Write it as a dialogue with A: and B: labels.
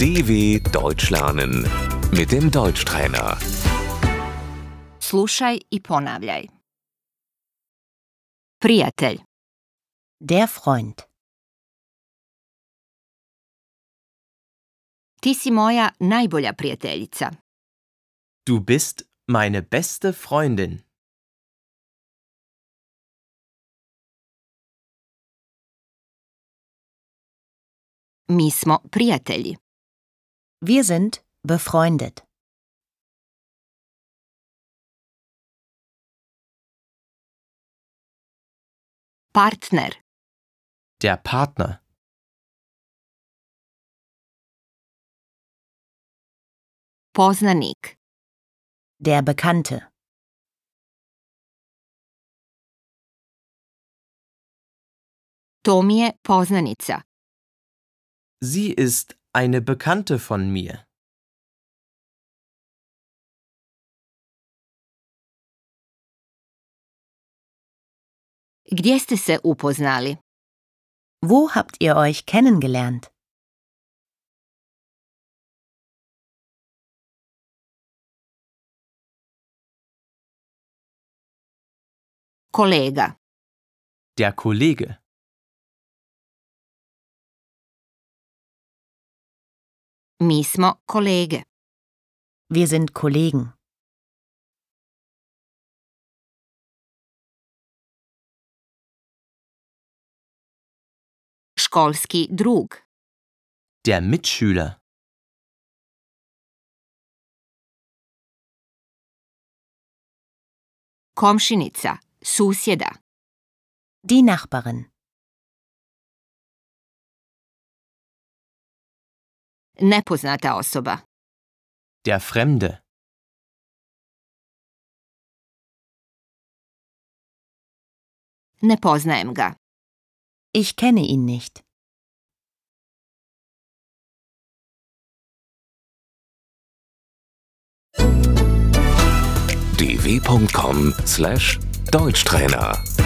A: DW Deutsch lernen mit dem Deutschtrainer.
B: Slušaj i ponavljaj. Prijatelj,
C: Der Freund.
B: ti si moja najbolja prijateljica.
D: Du bist meine beste Freundin.
B: Mi smo prijatelji.
C: Wir sind befreundet.
B: Partner,
D: Der Partner.
B: poznanik,
C: Der Bekannte.
B: to mi je poznanica.
D: Sie ist eine Bekannte von mir.
B: Gdje ste se upoznali?
C: Wo habt ihr euch kennengelernt?
B: Kolega,
D: Der Kollege.
B: mi smo kolege.
C: Wir sind Kollegen.
B: Školski drug,
D: Der Mitschüler.
B: komšinica, susjeda,
C: Die Nachbarin.
B: nepoznata osoba,
D: Der Fremde.
B: ne poznajem ga.
C: Ich kenne ihn nicht.
A: dw.com/deutschtrainer